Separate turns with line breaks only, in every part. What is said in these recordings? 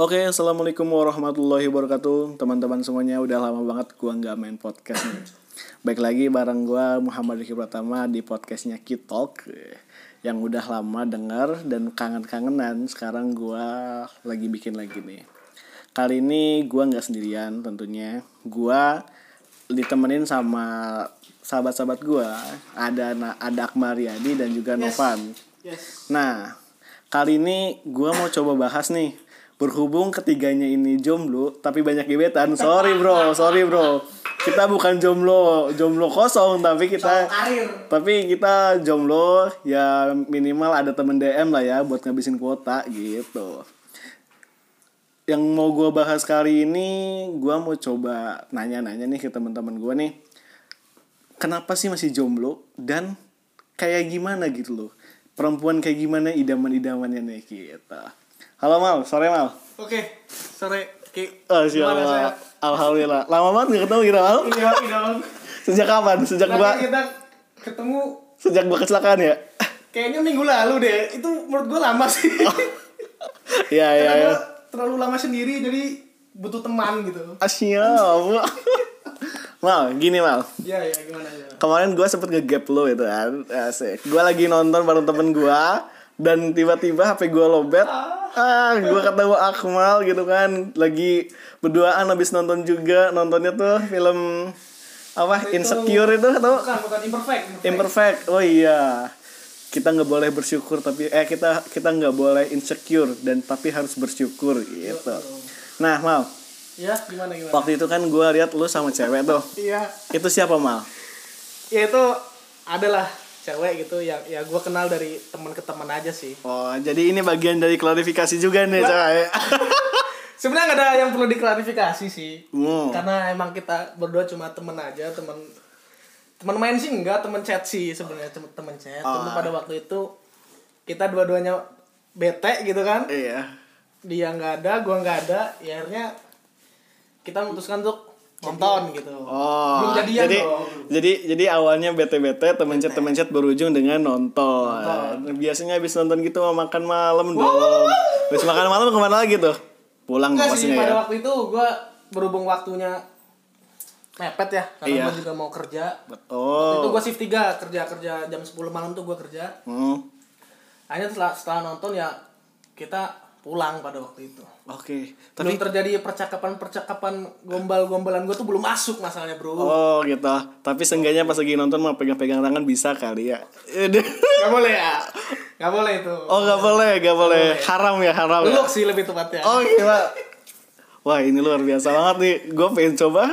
Oke, assalamualaikum warahmatullahi wabarakatuh, teman-teman semuanya. Udah lama banget gua nggak main podcast nih. Baik lagi bareng gua Muhammad Riki Pratama di podcastnya Kitalk yang udah lama dengar dan kangen-kangenan. Sekarang gua lagi bikin lagi nih. Kali ini gua nggak sendirian tentunya. Gua ditemenin sama sahabat-sahabat gua. Ada Na- ada Akmariadi dan juga Novan.
Yes.
Nah, kali ini gue mau coba bahas nih Berhubung ketiganya ini jomblo Tapi banyak gebetan Sorry bro, sorry bro Kita bukan jomblo, jomblo kosong Tapi kita
Karir.
tapi kita jomblo ya minimal ada temen DM lah ya buat ngabisin kuota gitu. Yang mau gue bahas kali ini, gue mau coba nanya-nanya nih ke teman-teman gue nih, kenapa sih masih jomblo dan kayak gimana gitu loh perempuan kayak gimana idaman-idamannya nih kita. Halo Mal, sore Mal.
Oke, sore Ki.
Oh,
Gimana saya?
siapa? Alhamdulillah. Lama banget gak ketemu kita Mal.
Iya, iya.
Sejak kapan? Sejak gua
Terakhir kita ketemu
sejak gua kecelakaan ya.
kayaknya minggu lalu deh. Itu menurut gue lama sih.
Oh. Iya iya.
Karena
iya.
gua terlalu lama sendiri jadi butuh teman gitu.
Asyam. mal, gini mal.
Iya, iya, gimana ya?
Kemarin gue sempet ngegap lo itu kan. Asik. Gue lagi nonton bareng temen gue dan tiba-tiba HP gue lobet. Ah, gue ketemu Akmal gitu kan. Lagi berduaan habis nonton juga. Nontonnya tuh film apa Insecure itu atau
Bukan, bukan imperfect. imperfect.
Imperfect. Oh iya. Kita nggak boleh bersyukur tapi eh kita kita nggak boleh insecure dan tapi harus bersyukur gitu. Nah, Mal,
Ya, gimana gimana?
waktu itu kan gue lihat lu sama cewek tuh.
Iya.
itu siapa mal
Ya itu adalah cewek gitu yang ya gue kenal dari teman ke teman aja sih.
oh jadi ini bagian dari klarifikasi juga nih ya? cewek
Sebenarnya nggak ada yang perlu diklarifikasi sih.
Hmm.
Karena emang kita berdua cuma temen aja, temen temen main sih enggak, temen chat sih sebenarnya cuma temen chat. Cuma
Ah.
pada waktu itu kita dua-duanya bete gitu kan.
iya
Dia nggak ada, gua nggak ada, ya akhirnya kita memutuskan untuk nonton gitu.
oh
Belum jadian
jadi
dong.
jadi jadi awalnya bete bete temen chat temen chat berujung dengan nonton, biasanya habis nonton gitu mau makan malam dong habis makan malam kemana lagi tuh pulang
Enggak sih,
pastinya
pada
ya
waktu itu gua berhubung waktunya mepet ya, karena
Iya.
gua juga mau kerja. Waktu itu
oh
gua shift 3, kerja-kerja jam 10 malam tuh gua kerja.
hmm.
Hanya setelah, setelah nonton ya kita pulang pada waktu itu.
oke
Tapi
tapi
terjadi percakapan-percakapan gombal-gombalan gue tuh belum masuk masalahnya bro.
oh gitu tapi seenggaknya pas lagi nonton mah pegang-pegang tangan bisa kali ya
Gak boleh ya? Gak boleh itu.
oh gak boleh gak boleh haram ya haram ya
Peluk sih lebih tepatnya.
Oh gila Wah ini luar biasa banget nih Gue pengen coba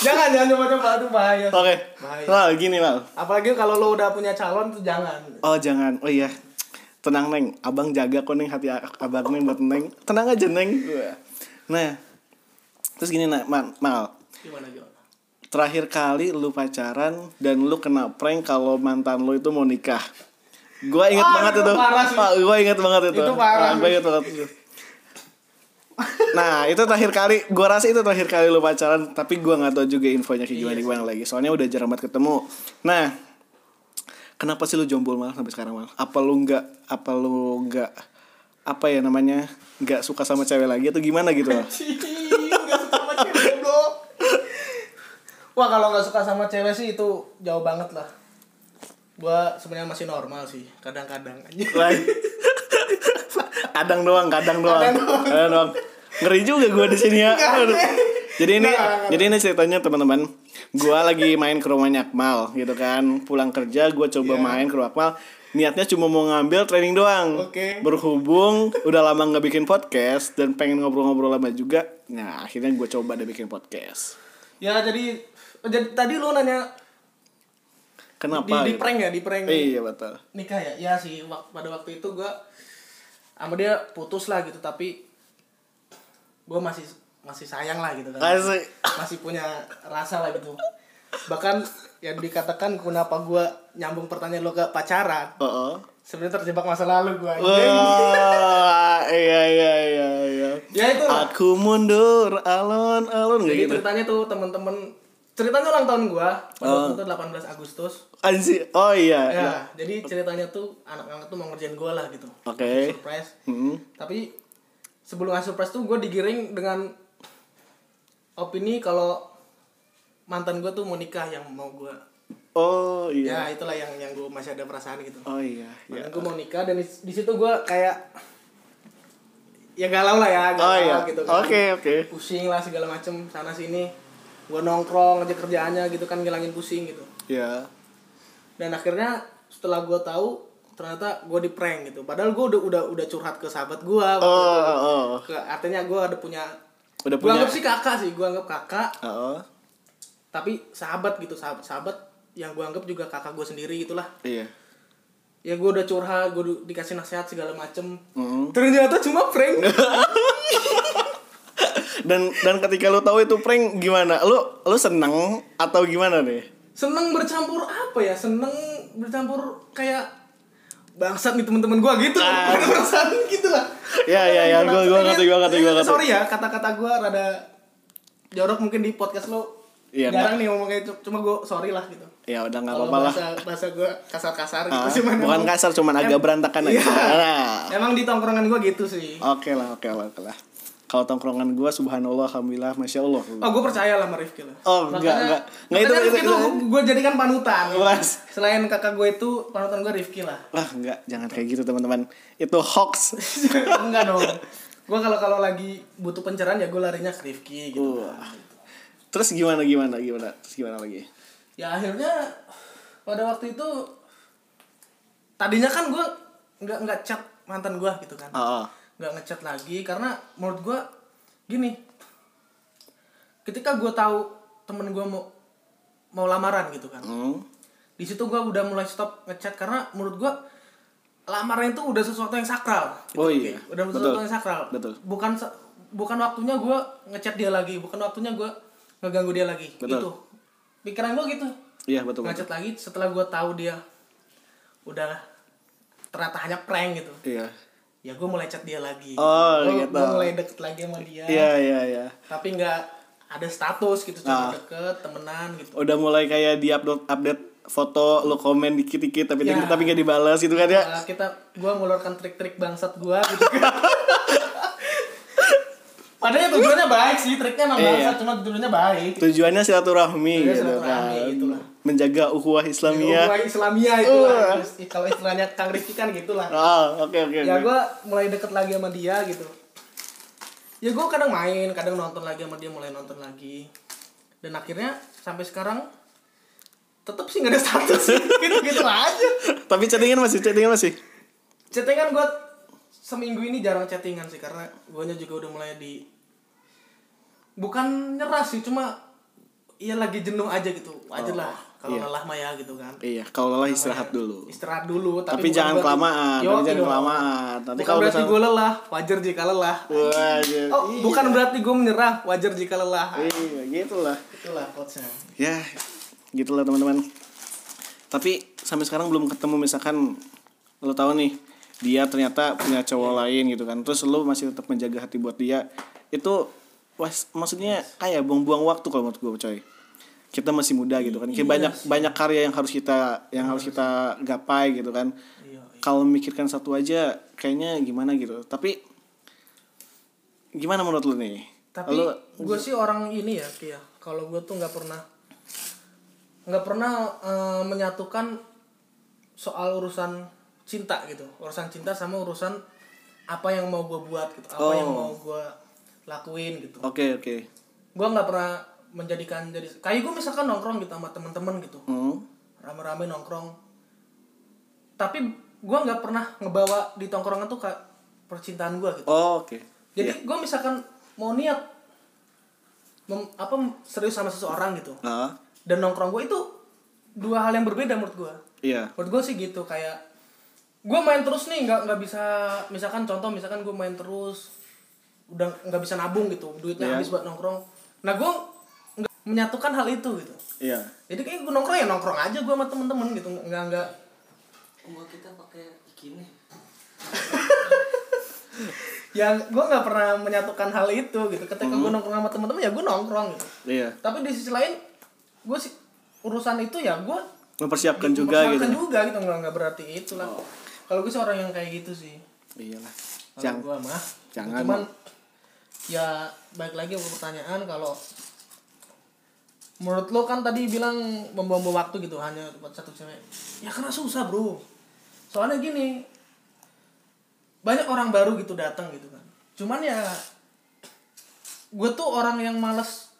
Jangan, jangan coba-coba. Aduh bahaya.
Oke
Bahaya.
Lal gini Lal
Apalagi kalau lo udah punya calon tuh jangan.
Oh jangan Oh iya Tenang Neng Abang jaga kok Neng hati a- abang Neng buat Neng Tenang aja Neng Nah Terus gini nah, Man, Mal
Gimana gimana?
Terakhir kali lu pacaran Dan lu kena prank Kalau mantan lu itu mau nikah Gue inget
Wah,
banget
itu
itu,
parah sih.
Gue inget banget itu
Itu parah
Gue inget banget itu Nah itu terakhir kali Gue rasa itu terakhir kali lu pacaran Tapi gue gak tahu juga infonya kayak
Iya
gimana-gimana lagi Soalnya udah jarang banget ketemu Nah Kenapa sih lu jomblo malah sampai sekarang malah? Apa lu nggak Apa lu nggak Apa ya namanya nggak suka sama cewek lagi Atau gimana gitu Mal?
Cih, gak suka sama cewek bro. Wah kalau nggak suka sama cewek sih itu jauh banget lah. Gua sebenarnya masih normal sih, kadang-kadang aja.
Lain. kadang doang, kadang doang.
Kadang doang.
Kadang doang. Ngeri juga gue di sini ya. Aduh. Jadi ini jadi ini ceritanya teman-teman. Gua lagi main ke rumahnya Akmal gitu kan. Pulang kerja gua coba
Iya.
main ke rumah Akmal. Niatnya cuma mau ngambil training doang.
Oke.
Berhubung udah lama nggak bikin podcast dan pengen ngobrol-ngobrol lama juga. Nah, akhirnya gue coba deh bikin podcast.
Ya jadi, jadi tadi lu nanya di,
Kenapa?
di
gitu?
prank ya, di prank
Iya, betul.
nikah ya. Ya sih wak- pada waktu itu gua sama dia putus lah gitu tapi gua masih masih sayang lah gitu kan.
Asik.
Masih punya rasa lah gitu. Bahkan yang dikatakan kenapa gua nyambung pertanyaan lo ke pacaran.
Oh, oh.
Sebenarnya terjebak masa lalu gua.
Wah, iya iya iya iya.
Ya itu lah.
Aku mundur alon-alon gak
Jadi
gitu.
ceritanya tuh temen-temen ceritanya ulang tahun gua pada waktu itu 18 Agustus.
Anji, oh iya.
Ya, jadi ceritanya tuh anak-anak tuh mau ngerjain gua lah gitu.
Oke. Hmm.
Surprise.
Mm-mm.
Tapi sebelum ngasih surprise tuh gue digiring dengan opini kalau mantan gue tuh mau nikah yang mau gue
Oh iya.
ya itulah yang yang gue masih ada perasaan gitu
Oh iya.
Makanya
iya.
gue mau nikah dan di, di situ gue kayak ya galau lah ya galau
Oh iya.
gitu kan.
Oke oke.
pusing lah segala macem sana sini gue nongkrong aja kerjaannya gitu kan ngilangin pusing gitu
Ya.
dan akhirnya setelah gue tahu ternyata gue di prank gitu padahal gue udah udah udah curhat ke sahabat gue
Oh oh. oh.
ke artinya gue ada punya
Udah
gue
punya.
anggap sih kakak sih gue anggap kakak
Oh.
tapi sahabat gitu sahabat sahabat yang gue anggap juga kakak gue sendiri gitulah
Iya.
ya gue udah curhat gue dikasih nasihat segala macem
Mm.
ternyata cuma prank
Dan dan ketika lu tahu itu prank gimana? Lu lu seneng atau gimana deh?
seneng bercampur apa ya seneng bercampur kayak bangsat nih teman-teman gua gitu perasaan gitu lah
Ah. Ya, ya, ya, gua- gua ngerti, gua ngerti, gua ngerti.
sorry ya kata-kata gua rada jorok mungkin di podcast lo
Iya,
jarang nih ngomong kayak itu. cuma gua sorry lah gitu
Ya udah nggak
kalau
apa-apa lah.
bahasa bahasa gua kasar-kasar gitu
Ah,
cuman
bukan
emang-
kasar, cuman agak
em-
berantakan aja.
iya.
Nah.
emang di tongkrongan gua gitu sih
Oke lah, oke lah, oke lah. Kalau tongkrongan gua subhanallah, alhamdulillah, masya Allah.
Oh, gue percaya lah sama Rifki lah.
Oh, enggak, enggak. Enggak, itu-
makanya
itu-
Rifki
itu-
tuh gue jadikan panutan.
Jelas.
Selain kakak gue itu, panutan gue Rifki lah.
Lah enggak, jangan kayak gitu teman-teman. Itu hoax.
enggak dong gue kalau kalau lagi butuh pencerahan ya gue larinya ke Rifki gitu
Wah. Terus gimana gimana gimana? Terus gimana lagi?
ya akhirnya pada waktu itu tadinya kan gue nggak nggak chat mantan gue gitu kan
Oh, oh.
nggak ngechat lagi karena menurut gue gini ketika gue tahu temen gue mau mau lamaran gitu kan
Hmm.
di situ gue udah mulai stop ngechat karena menurut gue lamaran itu udah sesuatu yang sakral
Oh
Oke,
iya.
udah
Betul.
sesuatu yang sakral
Betul.
bukan sa- bukan waktunya gue ngechat dia lagi bukan waktunya gue ngeganggu dia lagi
Betul.
itu pikiran gue gitu
Iya, betul betul.
ngechat lagi setelah gue tahu dia udah ternyata hanya prank gitu
Iya.
ya gue mulai chat dia lagi
Oh,
Gua-
gitu.
gua mulai deket lagi sama dia
Iya, iya, iya.
tapi nggak ada status gitu cuma
Ah.
deket temenan gitu
Udah mulai kayak di update update foto, lu komen dikit-dikit tapi
Ya.
tapi nggak dibalas gitu kan ya?
Nah, kita gua mengeluarkan trik-trik bangsat gua gitu kan. Padahal ya tujuannya baik sih, triknya emang
Iya.
bangsat, cuma tujuannya baik.
Tujuannya silaturahmi
Tujuannya
gitu
silaturahmi,
kan.
itulah.
Menjaga ukhuwah Islamiyah.
Islamia. Islamia itu lah. Kalau istilahnya Kang Rifki kan gitu lah.
Ah, oke oke.
Ya
oke.
gua mulai deket lagi sama dia gitu. Ya gua kadang main, kadang nonton lagi sama dia, mulai nonton lagi. Dan akhirnya sampai sekarang tetep sih nggak ada status gitu-gitu aja.
Tapi chattingan masih chattingan masih.
chattingan gue seminggu ini jarang chattingan sih karena guanya juga udah mulai di bukan nyerah sih cuma ya lagi jenuh aja gitu wajar lah kalau
iya.
lelah mah ya gitu kan
Iya, kalau lelah istirahat dulu.
istirahat dulu
Tapi
tapi, bukan
jangan
berarti-
kelamaan, tapi
Yoi
jangan
dong.
kelamaan. Nanti
bukan
kalau udah
berarti
sama-
gue lelah wajar jika lelah
Wah, iya.
oh bukan berarti gue menyerah wajar jika lelah
Iya, gitulah.
itulah quotesnya
ya gitulah teman-teman tapi sampai sekarang belum ketemu misalkan lo tahu nih dia ternyata punya cowok lain gitu kan terus lo masih tetap menjaga hati buat dia itu was maksudnya kayak buang-buang waktu kalau menurut gue coy kita masih muda gitu kan kayak banyak banyak karya yang harus kita yang harus kita gapai gitu kan
Iya, iya.
kalau memikirkan satu aja kayaknya gimana gitu tapi gimana menurut lo nih
tapi
Lo-
gue sih orang ini ya Kia kalau gue tuh nggak pernah nggak pernah eh, menyatukan soal urusan cinta gitu urusan cinta sama urusan apa yang mau gue buat gitu apa
Oh.
yang mau gue lakuin gitu
oke oke
gue nggak pernah menjadikan jadi kayak gue misalkan nongkrong gitu sama temen-temen gitu
Hmm.
rame-rame nongkrong tapi gue nggak pernah ngebawa di tongkrongan tuh ke percintaan gue gitu
Oh, oke
jadi gue misalkan mau niat mem- apa serius sama seseorang gitu
Ah,
dan nongkrong gue itu dua hal yang berbeda menurut gue.
iya.
Menurut gue sih gitu kayak gue main terus nih nggak nggak bisa misalkan contoh misalkan gue main terus udah nggak bisa nabung gitu duitnya
Iya.
habis buat nongkrong. Nah gue nggak menyatukan hal itu gitu.
Iya.
Jadi kayak gue nongkrong ya nongkrong aja gue sama temen-temen gitu nggak nggak
Gua kita pakai gini.
ya gue nggak pernah menyatukan hal itu gitu. Ketika
Hmm.
gue nongkrong sama temen-temen ya gue nongkrong gitu.
Iya.
tapi di sisi lain gue sih urusan itu ya gue Iya,
Mempersiapkan juga gitu.
juga gitu
Oh.
nggak nggak berarti itu lah kalau gue sih orang yang kayak gitu sih
Iyalah.
kalau
Jangan
gue mah
Jangan.
cuman ya balik lagi ke pertanyaan kalau menurut lo kan tadi bilang membuang-buang waktu gitu hanya buat satu cewek ya karena susah bro soalnya gini banyak orang baru gitu datang gitu kan cuman ya gue tuh orang yang males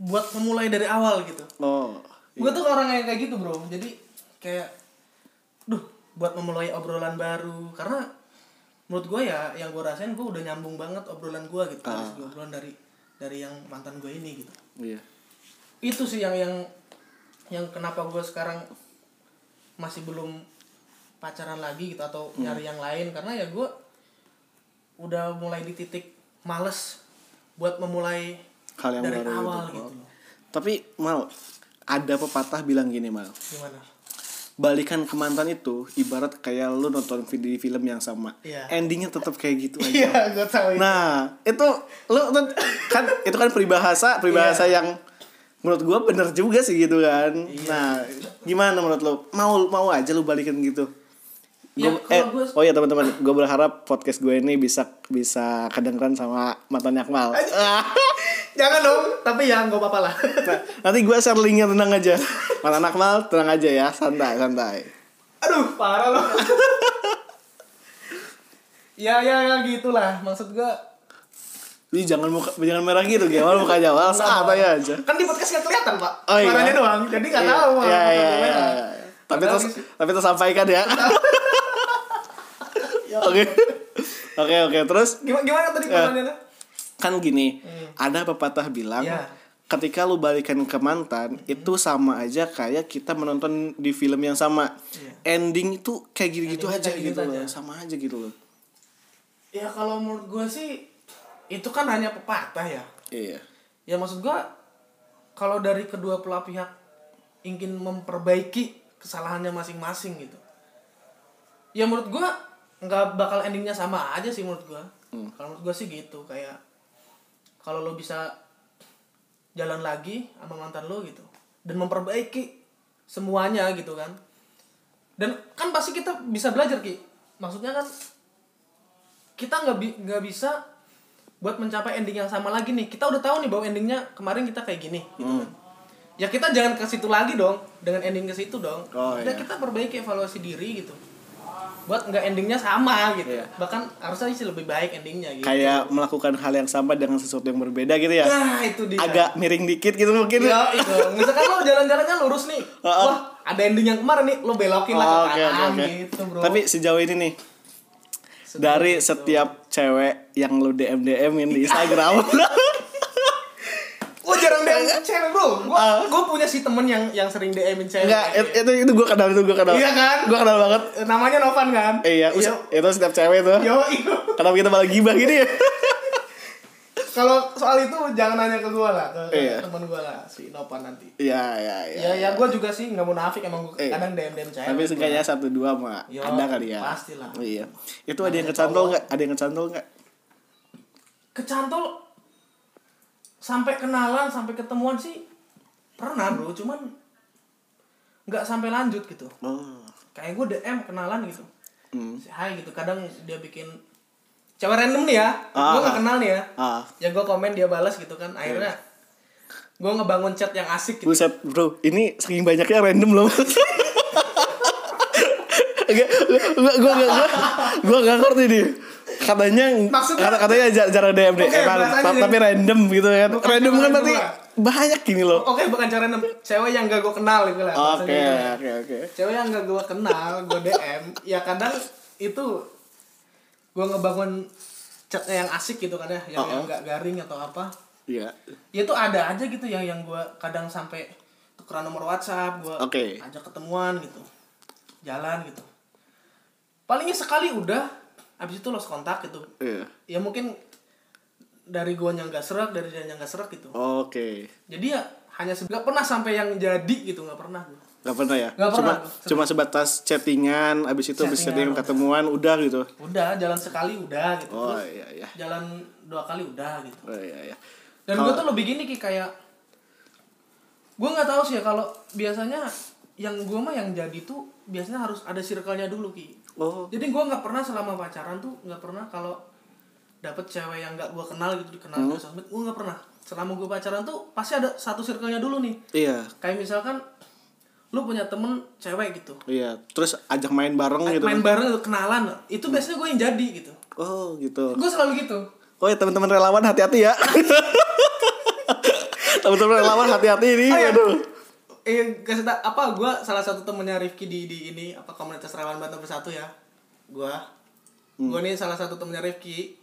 buat memulai dari awal gitu
Oh.
gue tuh orang yang kayak gitu bro jadi kayak duh buat memulai obrolan baru karena menurut gue ya yang gue rasain gue udah nyambung banget obrolan gue gitu Habis gua obrolan dari dari yang mantan gue ini gitu
Iya.
itu sih yang yang yang kenapa gue sekarang masih belum pacaran lagi gitu atau nyari yang lain karena ya gue udah mulai di titik males buat memulai
Hal yang
dari
baru
awal
itu. Oh.
gitu
Tapi mal ada pepatah bilang gini mal.
gimana
Balikan ke mantan itu ibarat kayak lu nonton video film yang sama.
Iya.
Endingnya tetap kayak gitu aja.
iya gue tahu
Nah, itu lu tuh- kan itu kan peribahasa, peribahasa
Iya.
yang menurut gua bener juga sih gitu kan. Nah, gimana menurut lu? Mau mau aja lu balikin gitu.
Ya,
Gua-
kalau
eh,
gua-
oh ya teman-teman, gue berharap podcast gue ini bisa bisa kedengeran sama mantannya Akmal.
Jangan dong, tapi ya nggak apa-apa lah.
Nah, nanti gue share linknya tenang aja. Mantan Akmal tenang aja ya, santai santai.
Aduh, parah loh. ya ya ya gitulah maksud gua
Ih, jangan muka, jangan merah gitu gimana mukanya Wal santai aja.
kan di podcast nggak kelihatan pak
ya, Oh, iya.
Suaranya doang jadi nggak tahu gitu.
Iya, iya,
warna
iya,
gua.
iya, iya. Tapi terus tapi terus sampaikan ya.
Ya.
Oke. Oke, oke. Terus
gimana gimana tadi
Iya.
pertanyaannya
kan gini, ada pepatah bilang
Hmm. Iya. Hmm.
ketika lu balikan ke mantan itu sama aja kayak kita menonton di film yang sama. Ending itu kayak gitu-gitu
Iya. Endingnya
aja
kayak
gitu
gitu
loh,
aja.
sama aja gitu loh.
ya kalau menurut gua sih itu kan hanya pepatah ya
Iya.
ya maksud gua kalau dari kedua belah pihak ingin memperbaiki kesalahannya masing-masing gitu ya menurut gua nggak bakal endingnya sama aja sih menurut gua kalau menurut gua sih gitu kayak kalau lo bisa jalan lagi sama mantan lo gitu dan memperbaiki semuanya gitu kan dan kan pasti kita bisa belajar ki maksudnya kan kita nggak bi- nggak bisa buat mencapai ending yang sama lagi nih kita udah tahu nih bahwa endingnya kemarin kita kayak gini gitu kan ya kita jangan ke situ lagi dong dengan ending ke situ dong
Oh,
Maksudnya
iya.
kita perbaiki evaluasi diri gitu buat nggak endingnya sama gitu
Iya.
bahkan harusnya sih lebih baik endingnya gitu
Kayak melakukan hal yang sama dengan sesuatu yang berbeda gitu ya.
nah itu dia
Agak miring dikit gitu mungkin.
Ya itu. Misalkan lo jalan-jalannya lurus nih.
Heeh.
Wah, ada ending yang kemarin nih, lo belokin lah
Oh,
ke
oke, oke,
kanan
oke.
gitu, Bro.
Tapi sejauh ini nih
Sedih
dari
gitu.
setiap cewek yang lu DM DM in di Instagram.
Gua jarang DM cewek, Bro. Gua gua punya si temen yang yang sering DM-in
Ah.
cewek.
Enggak, it- itu itu gue kenal itu gue kenal.
Iya kan?
Gue kenal banget.
Eh, Namanya Novan kan?
Eh, iya, us- itu setiap cewek tuh.
Yo, yo.
Kenapa kita malah gibah gini ya?
Kalau soal itu jangan nanya ke gua lah, ke
Iya.
ke temen gua lah si Novan nanti.
Iya, iya, iya.
Ya, ya gua juga sih nggak munafik emang gua
Iya.
kadang DM-DM cewek.
Tapi seenggaknya satu dua mah
Yo,
ada kali ya.
pastilah.
Iya. Itu ada yang kecantol nggak? Ada yang kecantol nggak?
kecantol sampai kenalan sampai ketemuan sih pernah bro cuman nggak sampai lanjut gitu
Oh.
kayak gue dm kenalan gitu
Hmm.
Si hai gitu kadang dia bikin cewek random nih ya
Ah.
gue nggak kenal nih ya
Ah.
ya gue komen dia balas gitu
Iya.
kan akhirnya gue ngebangun chat yang asik gitu
Buset bro, ini saking banyaknya random loh. Enggak, gua gua gua gua, gua gak ngerti nih. Katanya
Maksudnya-
kata katanya jar- jarang DM deh,
Oke,
emang,
bahasanya
ta-
jadi-
tapi random gitu kan.
Bukan
Random kan
random
berarti
lah.
banyak gini loh.
oke bukan cewek random cewek yang gak gue kenal gitu lah bahasanya
Oke,
gitu ya.
oke, oke.
cewek yang gak gue kenal gue dm ya kadang itu gue ngebangun chatnya yang asik gitu kan ya yang,
Uh-uh.
yang gak garing atau apa
Iya.
ya itu ada aja gitu yang yang gue kadang sampai tukeran nomor whatsapp gue
Oke.
ajak ketemuan gitu jalan gitu palingnya sekali udah abis itu lost kontak gitu
Iya.
ya mungkin dari gue yang gak serak dari dia yang gak serak gitu
Oke.
jadi ya hanya se- nggak pernah sampai yang jadi gitu nggak pernah gue
Gak pernah ya?
Nggak
cuma
pernah.
cuma sebatas chattingan, abis itu abis chattingan
Chattingan,
ketemuan, udah gitu.
udah jalan sekali udah gitu
Oh
Terus
iya iya.
jalan dua kali udah gitu
Oh iya iya.
dan gue tuh lebih gini ki kayak gue nggak tahu sih ya kalau biasanya yang gue mah yang jadi tuh biasanya harus ada circle-nya dulu ki
Oh.
jadi gue nggak pernah selama pacaran tuh nggak pernah kalau dapet cewek yang nggak gue kenal gitu dikenal
Hmm.
di sosmed gue nggak pernah selama gue pacaran tuh pasti ada satu circle-nya dulu nih
Iya.
kayak misalkan lu punya temen cewek gitu
Iya, terus ajak main bareng gitu.
main bareng gitu, kenalan itu biasanya gue yang jadi gitu
Oh, gitu.
gue selalu gitu
Oh ya teman-teman relawan hati-hati ya. teman-teman relawan hati-hati ini.
Oh, iya.
Aduh.
eh kasih tau, apa gue salah satu temennya Rifki di di ini apa komunitas relawan Banten Bersatu ya gue
Hmm.
gue nih salah satu temennya Rifki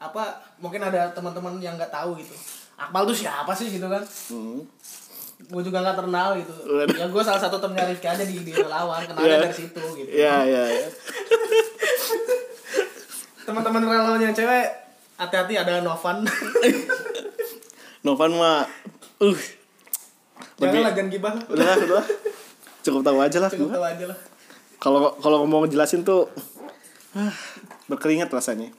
apa mungkin ada teman-teman yang nggak tahu gitu Akmal tuh siapa sih gitu kan gue juga nggak terkenal gitu
Waduh.
ya gue salah satu temennya Rifki aja di di relawan
Iya.
kenalnya dari situ gitu
Iya, iya, iya.
teman-teman relawan yang cewek hati-hati ada Novan
Novan mah uh
jangan
lebih
lah jangan gibah
udah lah, udah lah. Cukup tahu aja lah gua.
cukup tahu aja lah
Kalau kalau mau jelasin tuh ah, berkeringat rasanya.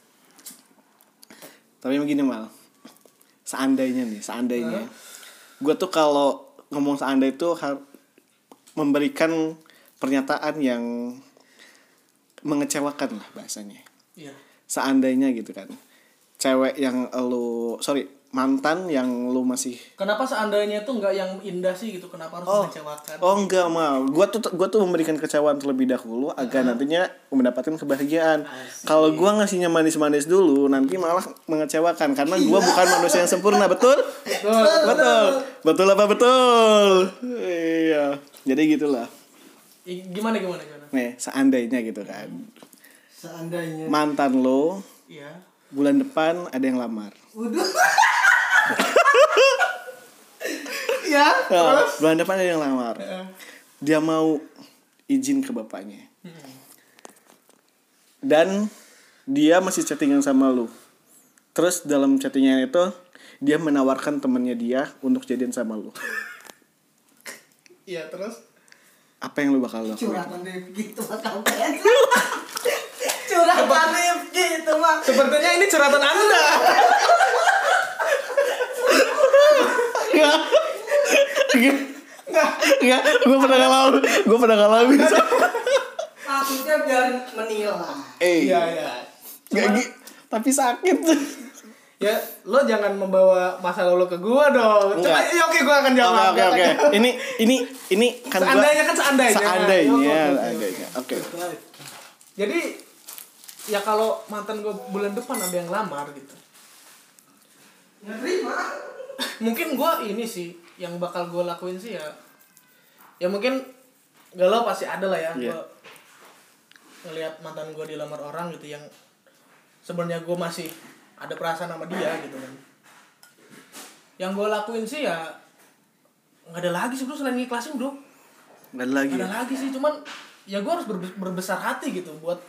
Tapi begini mal, seandainya nih, seandainya, gue tuh kalau ngomong seandai itu har- memberikan pernyataan yang mengecewakan lah bahasanya.
iya
Seandainya gitu kan, cewek yang lu sorry mantan yang lu masih
Kenapa seandainya tuh nggak yang indah sih gitu? Kenapa harus mengecewakan?
Oh enggak mal, gua tuh gua tuh memberikan kecewaan terlebih dahulu agar nantinya mendapatkan kebahagiaan. Kalau gua ngasihnya manis-manis dulu, nanti malah mengecewakan karena gua bukan manusia yang sempurna, betul?
Betul.
betul. Betul apa betul? Iya. Jadi gitulah.
I- Gimana gimana gimana?
Nih, seandainya gitu kan.
Seandainya.
Mantan lo
Iya.
bulan depan ada yang lamar.
Waduh. ya.
Oh, bulan depan ada yang lamar. Dia mau izin ke bapaknya. Dan dia masih chattingan sama lu. Terus dalam chattingan itu dia menawarkan temannya dia untuk jadian sama lu.
Iya terus.
Apa yang lu bakal lakuin?
Curhatan Rifki itu mah sampean. Curhatan Rifki itu mah.
Sepertinya ini curhatan Anda.
Enggak. Enggak, gue pernah ngalamin, gue pernah ngalamin.
Maksudnya biar menilai.
Eh,
Iya iya.
nggak gi- tapi sakit.
Ya, lo jangan membawa masa lalu ke gua dong. Coba,
Enggak.
ya oke gua akan
Oke,
jawab.
Iya. oke, oke. Ini, ini, ini kan gua-
Seandainya kan seandainya.
Seandainya,
Oke, oke,
seandainya. Oke. ya?
Jadi ya kalau mantan gue bulan depan ada yang lamar gitu.
Nerima.
mungkin gue ini sih yang bakal gue lakuin sih ya ya mungkin galau pasti ada lah ya
Iya.
gue ngelihat mantan gue dilamar orang gitu yang sebenarnya gue masih ada perasaan sama dia gitu kan yang gue lakuin sih ya nggak ada lagi sih bro selain ngiklasin bro
Nggak ada lagi.
nggak
ya?
ada lagi sih cuman ya gue harus berbe- berbesar hati gitu buat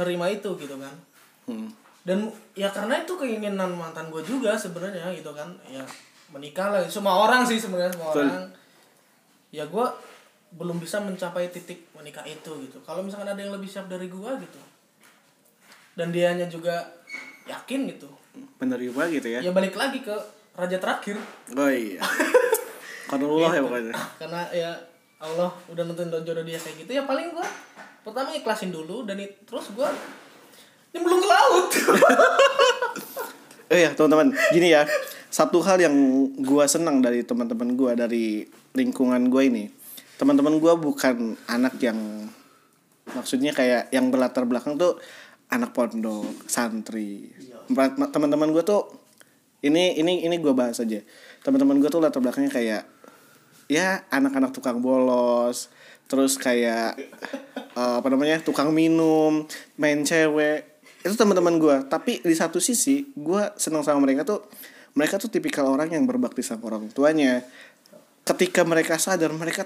nerima itu gitu kan
Hmm.
dan ya karena itu keinginan mantan gue juga sebenarnya gitu kan ya menikah lah semua orang sih sebenarnya semua
Betul.
orang ya gue belum bisa mencapai titik menikah itu gitu kalau misalkan ada yang lebih siap dari gue gitu dan dianya juga yakin gitu
Menerima gitu ya.
ya balik lagi ke raja terakhir
Oh iya. Konullah ya pokoknya.
karena ya Allah udah nentuin jodoh dia kayak gitu ya paling gue pertama ikhlasin dulu dan it- terus gue nyemplung ke laut
Oh iya teman-teman, gini ya. Satu hal yang gua senang dari teman-teman gua dari lingkungan gua ini. Teman-teman gua bukan anak yang maksudnya kayak yang berlatar belakang tuh anak pondok, santri. Ber- Teman-teman gua tuh ini ini ini gua bahas aja. Teman-teman gua tuh latar belakangnya kayak ya anak-anak tukang bolos, terus kayak eh, apa namanya? tukang minum, main cewek. Itu teman-teman gua, tapi di satu sisi gua senang sama mereka tuh mereka tuh tipikal orang yang berbakti sama orang tuanya. Ketika mereka sadar mereka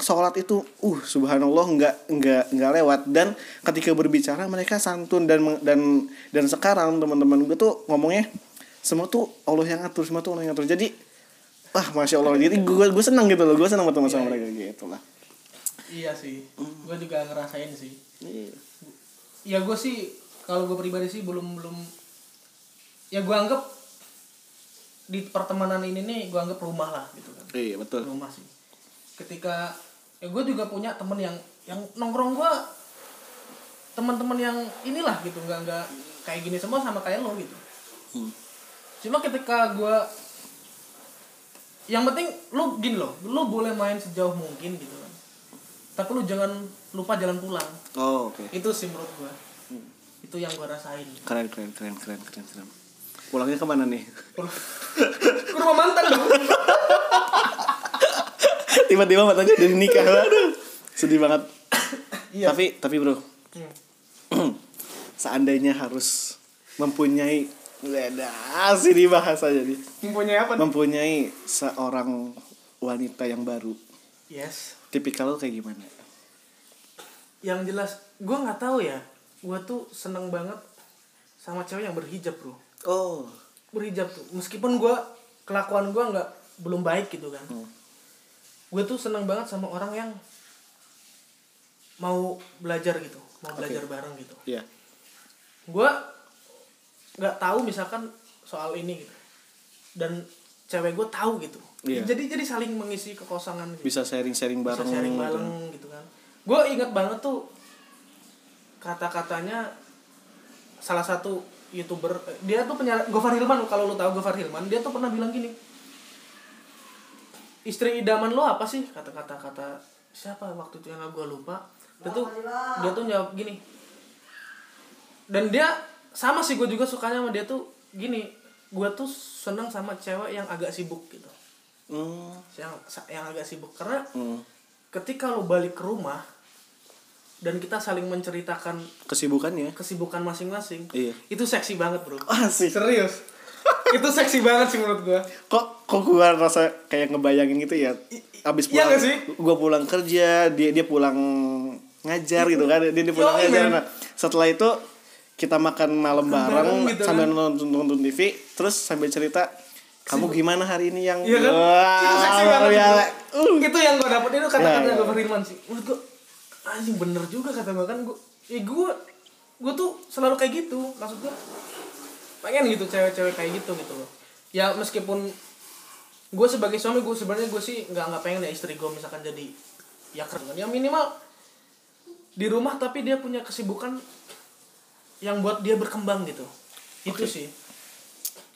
sholat itu uh subhanallah nggak nggak nggak lewat dan ketika berbicara mereka santun dan meng- dan dan sekarang teman-teman gue tuh ngomongnya semua tuh Allah yang atur semua tuh Allah yang atur jadi wah Ah, masya Allah jadi gue gue senang gitu loh gue senang berteman sama mereka gitu lah
Iya sih, gue juga ngerasain sih.
Iya.
Ya gue sih, kalau gue pribadi sih belum belum. Ya gue anggap di pertemanan ini nih gue anggap rumah lah gitu kan.
iya betul
Rumah sih. Ketika ya gue juga punya temen yang yang nongkrong gue teman-teman yang inilah gitu nggak nggak kayak gini semua sama kayak lo gitu cuma ketika gua yang penting lu gini loh lu boleh main sejauh mungkin gitu kan tapi lu jangan lupa jalan pulang
Oh, oke.
itu sih menurut gua itu yang gua rasain
Keren, keren, keren, keren, keren, keren. Pulangnya kemana nih?
ke rumah mantan dong
Tiba-tiba matanya udah nikah. Aduh, sedih banget.
Iya.
Tapi, tapi bro,
Hmm.
seandainya harus mempunyai Leda, sini bahasanya nih.
Mempunyai apa nih?
Mempunyai seorang wanita yang baru.
yes
Tipikal lo kayak gimana?
yang jelas gua nggak tahu ya gua tuh seneng banget sama cewek yang berhijab bro
Oh,
berhijab tuh meskipun gua kelakuan gua nggak belum baik gitu kan
Hmm.
gue tuh seneng banget sama orang yang mau belajar gitu mau
Oke.
belajar bareng gitu
iya.
gue nggak tahu misalkan soal ini gitu dan cewek gue tahu gitu
Iya.
jadi jadi saling mengisi kekosongan gitu.
Bisa sharing-sharing
Bisa
bareng.
sharing bareng gitu kan gue inget banget tuh kata-katanya salah satu youtuber eh, dia tuh penyiar Gofar Hilman kalau lu tahu Gofar Hilman dia tuh pernah bilang gini istri idaman lo apa sih kata-kata kata siapa waktu itu yang gue lupa dia tuh dia tuh jawab gini dan dia sama sih gue juga sukanya sama dia tuh gini gue tuh seneng sama cewek yang agak sibuk gitu
Hmm,
yang yang agak sibuk karena
hmm.
ketika lo balik ke rumah dan kita saling menceritakan
Kesibukannya.
kesibukan masing-masing
Iya.
itu seksi banget bro
Asik.
serius itu seksi banget sih menurut gua
kok kok gua rasa kayak ngebayangin gitu ya abis
iya
pulang
nggak sih?
gua pulang kerja dia dia pulang ngajar gitu kan dia, dia pulang
Yoi,
ngajar
man.
Nah, setelah itu kita makan malam bareng
bareng gitu
sambil
kan.
nonton, nonton TV terus sambil cerita kamu gimana hari ini yang
iya kan iya.
Wah,
itu Hmm. seksi
luar
banget
biasa. Gitu.
bro. Mm, itu yang gua dapetin itu kata-katanya
Iya, iya.
Gofar Hilman sih menurut gua anjing bener juga kata bahkan gua eh gua gua tuh selalu kayak gitu maksud gua pengen gitu cewek-cewek kayak gitu gitu loh ya meskipun gue sebagai suami gue sebenarnya gue sih nggak nggak pengen ya istri gue misalkan jadi ya keren yang minimal di rumah tapi dia punya kesibukan yang buat dia berkembang gitu itu sih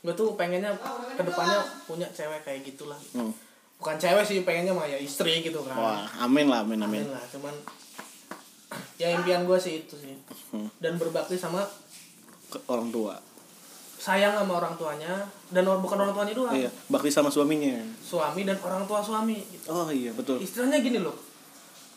gue tuh pengennya kedepannya punya cewek kayak gitulah
Hmm.
bukan cewek sih pengennya mah ya istri gitu kan
wah amin lah amin amin
Amin lah cuman ya impian gue sih itu sih
Hmm.
dan berbakti sama
Ke orang tua
sayang sama orang tuanya dan or- bukan orang tuanya doang
iya bakti sama suaminya
suami dan orang tua suami gitu.
oh iya betul
istilahnya gini loh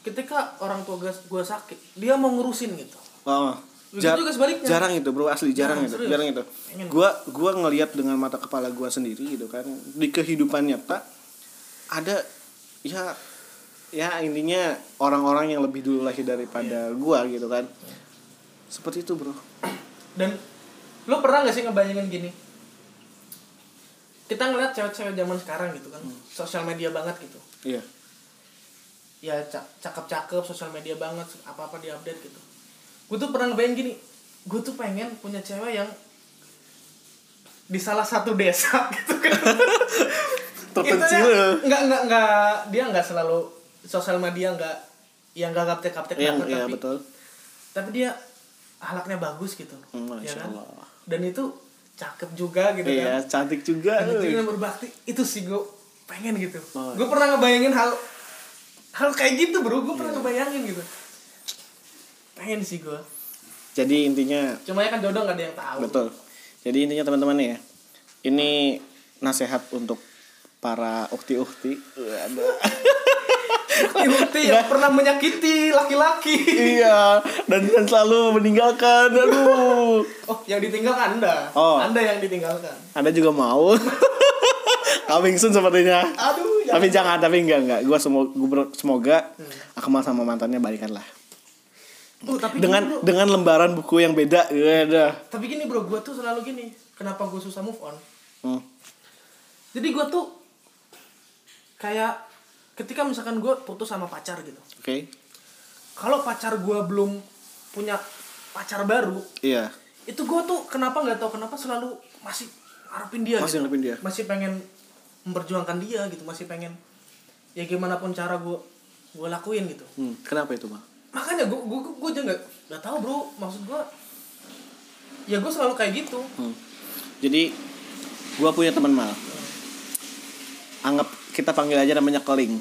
ketika orang tua gue gua sakit dia mau ngurusin gitu
Oh,
Begitu gitu juga sebaliknya.
jarang itu bro asli jarang
Jarang,
itu
serius.
jarang itu
Pengen.
gua gua ngelihat dengan mata kepala gua sendiri gitu kan di kehidupan nyata ada ya ya intinya orang-orang yang lebih dulu lahir daripada
Iya.
gua gitu kan seperti itu bro
dan lo pernah gak sih ngebayangin gini kita ngeliat cewek-cewek zaman sekarang gitu kan
Hmm.
sosial media banget gitu
iya
ya ca- cakep-cakep sosial media banget apa-apa di update gitu gue tuh pernah ngebayangin gini gue tuh pengen punya cewek yang di salah satu desa gitu kan
terpencil
Itunya nggak nggak nggak dia nggak selalu sosial media nggak yang nggak gaptek gaptek
yang iya
banget, Nah, tapi gitu kan.
betul
tapi dia ahlaknya bagus gitu
Hmm,
ya
Masya
kan?
Allah.
dan itu cakep juga gitu
iya
kan
cantik juga
dan itu
eh.
yang berbakti itu sih gue pengen gitu
Oh,
gue pernah ngebayangin hal hal kayak gitu bro gue pernah ngebayangin gitu pengen sih gue
jadi intinya
cuma ya kan jodoh nggak ada yang tahu
Betul. Jadi intinya teman-teman ya, ini nasihat untuk para ukti-ukti.
Bukti yang pernah menyakiti laki-laki
iya, dan dan selalu meninggalkan. Aduh.
oh yang ditinggalkan anda
Oh.
anda yang ditinggalkan
Anda juga mau. Coming soon sepertinya.
aduh
Tapi jangan, Hmm. tapi enggak enggak. Gua semoga semoga Akmal sama mantannya balikan lah.
Tuh, tapi gini,
Dengan
bro.
dengan lembaran buku yang beda. Iya, Udah.
tapi gini bro gue tuh selalu gini kenapa gue susah move on
Hmm.
jadi gue tuh kayak ketika misalkan gue putus sama pacar gitu
Oke.
kalau pacar gue belum punya pacar baru
Iya.
itu gue tuh kenapa nggak tahu kenapa selalu masih ngarepin dia
Masih
gitu.
ngarepin dia.
masih pengen memperjuangkan dia gitu masih pengen ya gimana pun cara gue gue lakuin gitu
Hmm, kenapa itu, Bang?
makanya gue gue gue aja nggak nggak tahu bro maksud gue ya gue selalu kayak gitu
Hmm. Jadi gua punya teman mal. Anggap kita panggil aja namanya Keling.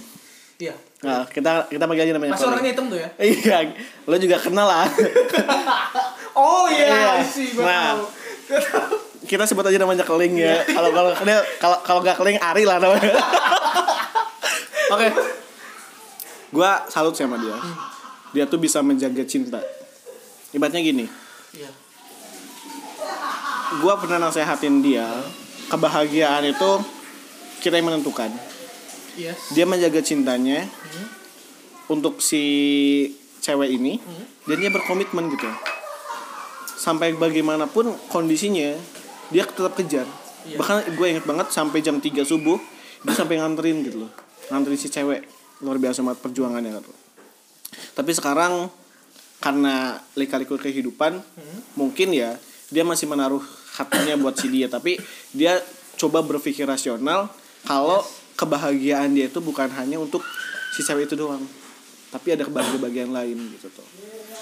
iya
Nah, kita kita panggil aja namanya
masih
Keling.
orangnya hitam tuh ya
Iya, lo juga kenal lah.
oh iya
Iya.
sih gue
Nah.
tahu Gua tahu.
kita sebut aja namanya Keling ya. Kalau kalau dia kalau kalau nggak Keling Ari lah namanya. Oke. Gua salut sama dia. Dia tuh bisa menjaga cinta. Ibaratnya gini,
iya
gua pernah nasehatin dia, kebahagiaan itu kita yang menentukan.
yes
dia menjaga cintanya
Hmm.
untuk si cewek ini
Hmm.
dan dia berkomitmen gitu sampai bagaimanapun kondisinya dia tetap kejar
Iya.
bahkan gue inget banget sampai jam 3 subuh dia sampai nganterin gitu loh nganterin si cewek luar biasa banget perjuangannya gitu. tapi sekarang karena lika-liku kehidupan mungkin ya dia masih menaruh hatinya buat si dia tapi dia coba berpikir rasional kalau kebahagiaan dia itu bukan hanya untuk si cewek itu doang tapi ada kebahagiaan lain gitu tuh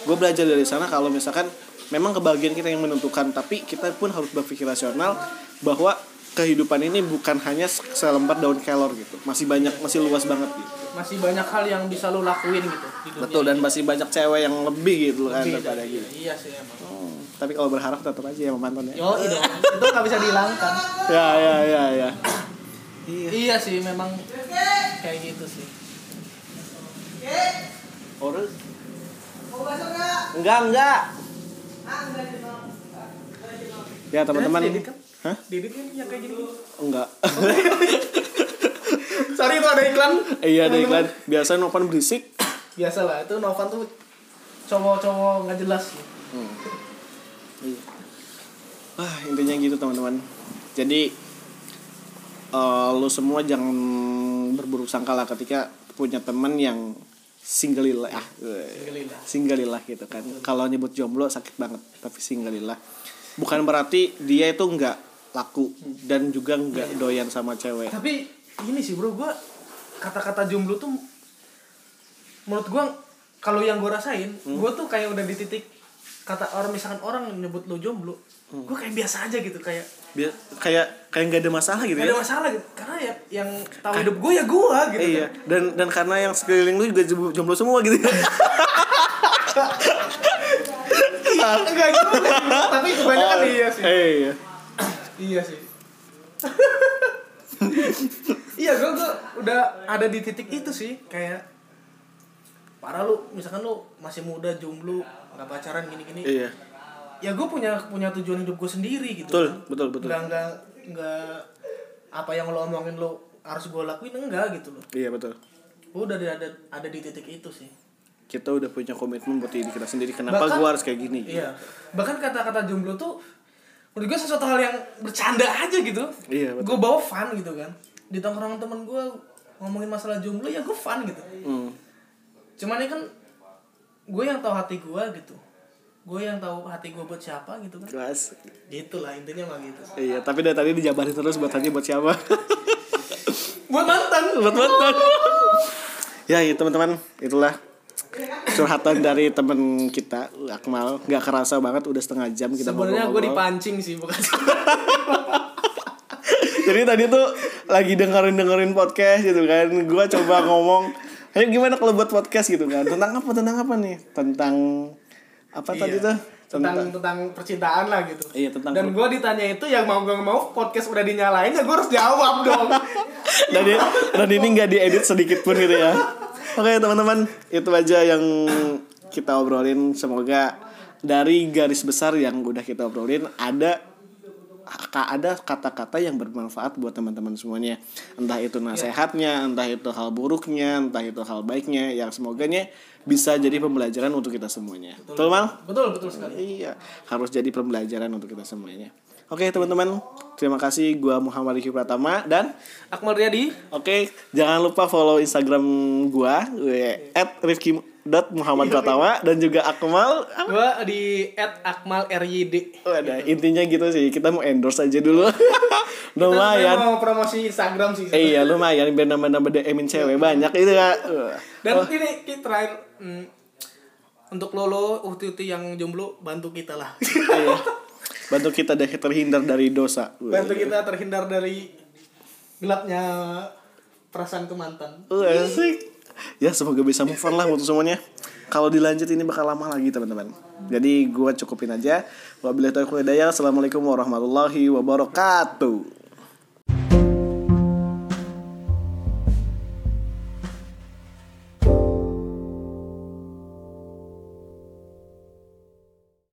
gue belajar dari sana kalau misalkan memang kebahagiaan kita yang menentukan tapi kita pun harus berpikir rasional bahwa kehidupan ini bukan hanya se- selembar daun kelor gitu masih banyak masih luas banget gitu
masih banyak hal yang bisa lo lakuin gitu di dunia
betul dan masih banyak cewek yang lebih gitu kan
Iya,
daripada
iya,
gitu
iya sih emang
tapi kalau berharap tetap aja ya sama mantan ya.
yo itu itu nggak bisa dihilangkan
Ya ya ya ya.
iya sih memang kayak gitu sih
Orang
Mau masuk nggak?
enggak enggak.
Ah, enggak di bawah.
Ya teman-teman.
Jadi kan?
Hah?
Didit kan yang kayak gini
Enggak.
sorry itu ada iklan
Iya ada iklan. Biasa Novan berisik.
biasa lah itu Novan tuh cowok-cowok nggak jelas
Iya. Ah, intinya gitu teman-teman. Jadi eh, lo semua jangan berburuk sangka lah ketika punya teman yang single ah.
Singgelilah.
singgalilah gitu kan kalau nyebut jomblo sakit banget tapi singgalilah bukan berarti dia itu nggak laku dan juga nggak doyan sama cewek
tapi ini sih bro gue kata-kata jomblo tuh menurut gue kalau yang gue rasain
Hmm.
gue tuh kayak udah di titik kata orang misalkan orang nyebut lo jomblo
Hmm.
gue kayak biasa aja gitu kayak
Bia- kayak kayak nggak ada masalah gitu
nggak
ya
ada masalah gitu karena ya yang tahu hidup gue ya gue gitu
Kan iya dan dan karena yang sekeliling lu juga jom- jomblo semua gitu
kan enggak gitu tapi kebanyakan iya sih
Eh, iya
iya sih iya gue gue udah ada di titik itu sih kayak parah lu misalkan lu masih muda jomblo nggak pacaran gini-gini
iya
ya gue punya punya tujuan hidup gue sendiri gitu
betul
kan.
betul betul
nggak nggak nggak apa yang lo omongin lo harus gue lakuin enggak gitu loh
iya betul
gue udah ada ada, ada di titik itu sih
kita udah punya komitmen buat diri kita sendiri kenapa
Bahkan-
gua harus kayak gini
iya bahkan kata-kata jomblo tuh menurut gue sesuatu hal yang bercanda aja gitu
Iya, betul.
gue bawa fun gitu kan di tongkrongan temen gue ngomongin masalah jomblo ya gue fun gitu
Hmm.
cuman ini kan gue yang tahu hati gue gitu gue yang tahu hati gue buat siapa gitu kan
kelas
gitu lah intinya mah gitu
iya tapi dari tadi dijabarin terus buat tadi buat siapa
buat mantan
buat mantan ya gitu teman-teman itulah curhatan dari temen kita Akmal nggak kerasa banget udah setengah jam kita
Sebenarnya gue
ngobrol-ngobrol.
dipancing sih bukan.
jadi tadi tuh lagi dengerin dengerin podcast gitu kan gue coba ngomong ayo gimana kalau buat podcast gitu kan tentang apa tentang apa nih tentang apa tadi
Iya.
tuh
tentang tentang percintaan lah gitu.
Iya, tentang-
Dan gue ditanya itu yang mau gak mau podcast udah dinyalain ya gue harus jawab dong.
dan, i- dan ini nggak diedit sedikit pun gitu ya oke teman-teman itu aja yang kita obrolin semoga dari garis besar yang udah kita obrolin ada ka- ada kata-kata yang bermanfaat buat teman-teman semuanya entah itu nasehatnya entah itu hal buruknya entah itu hal baiknya yang semoganya bisa jadi pembelajaran untuk kita semuanya betul mal
betul betul sekali.
Iya, harus jadi pembelajaran untuk kita semuanya. Oke, teman-teman. Terima kasih gua Muhammad Riki Pratama dan
Akmal Riyadi.
oke, jangan lupa follow Instagram gua we- @rifki.muhammadpratama dan juga Akmal.
Gue di @akmalryd.
Wadah, intinya gitu sih. Kita mau endorse aja dulu.
Saya
lumayan.
mau promosi Instagram sih.
Eh, iya, lumayan biar nambah-nambah DM-in cewek banyak itu ya.
Dan ini kita terakhir hmm, untuk lo lo uhti uhti yang jomblo bantu kita lah.
Iya. Bantu kita dari terhindar dari dosa. Iya.
bantu kita terhindar dari gelapnya perasaan ke mantan
Uh, asik. Ya semoga bisa move on lah untuk semuanya. Kalau dilanjut ini bakal lama lagi teman-teman. Jadi gua cukupin aja. Wabillahi taufiq wal hidayah. Assalamualaikum warahmatullahi wabarakatuh.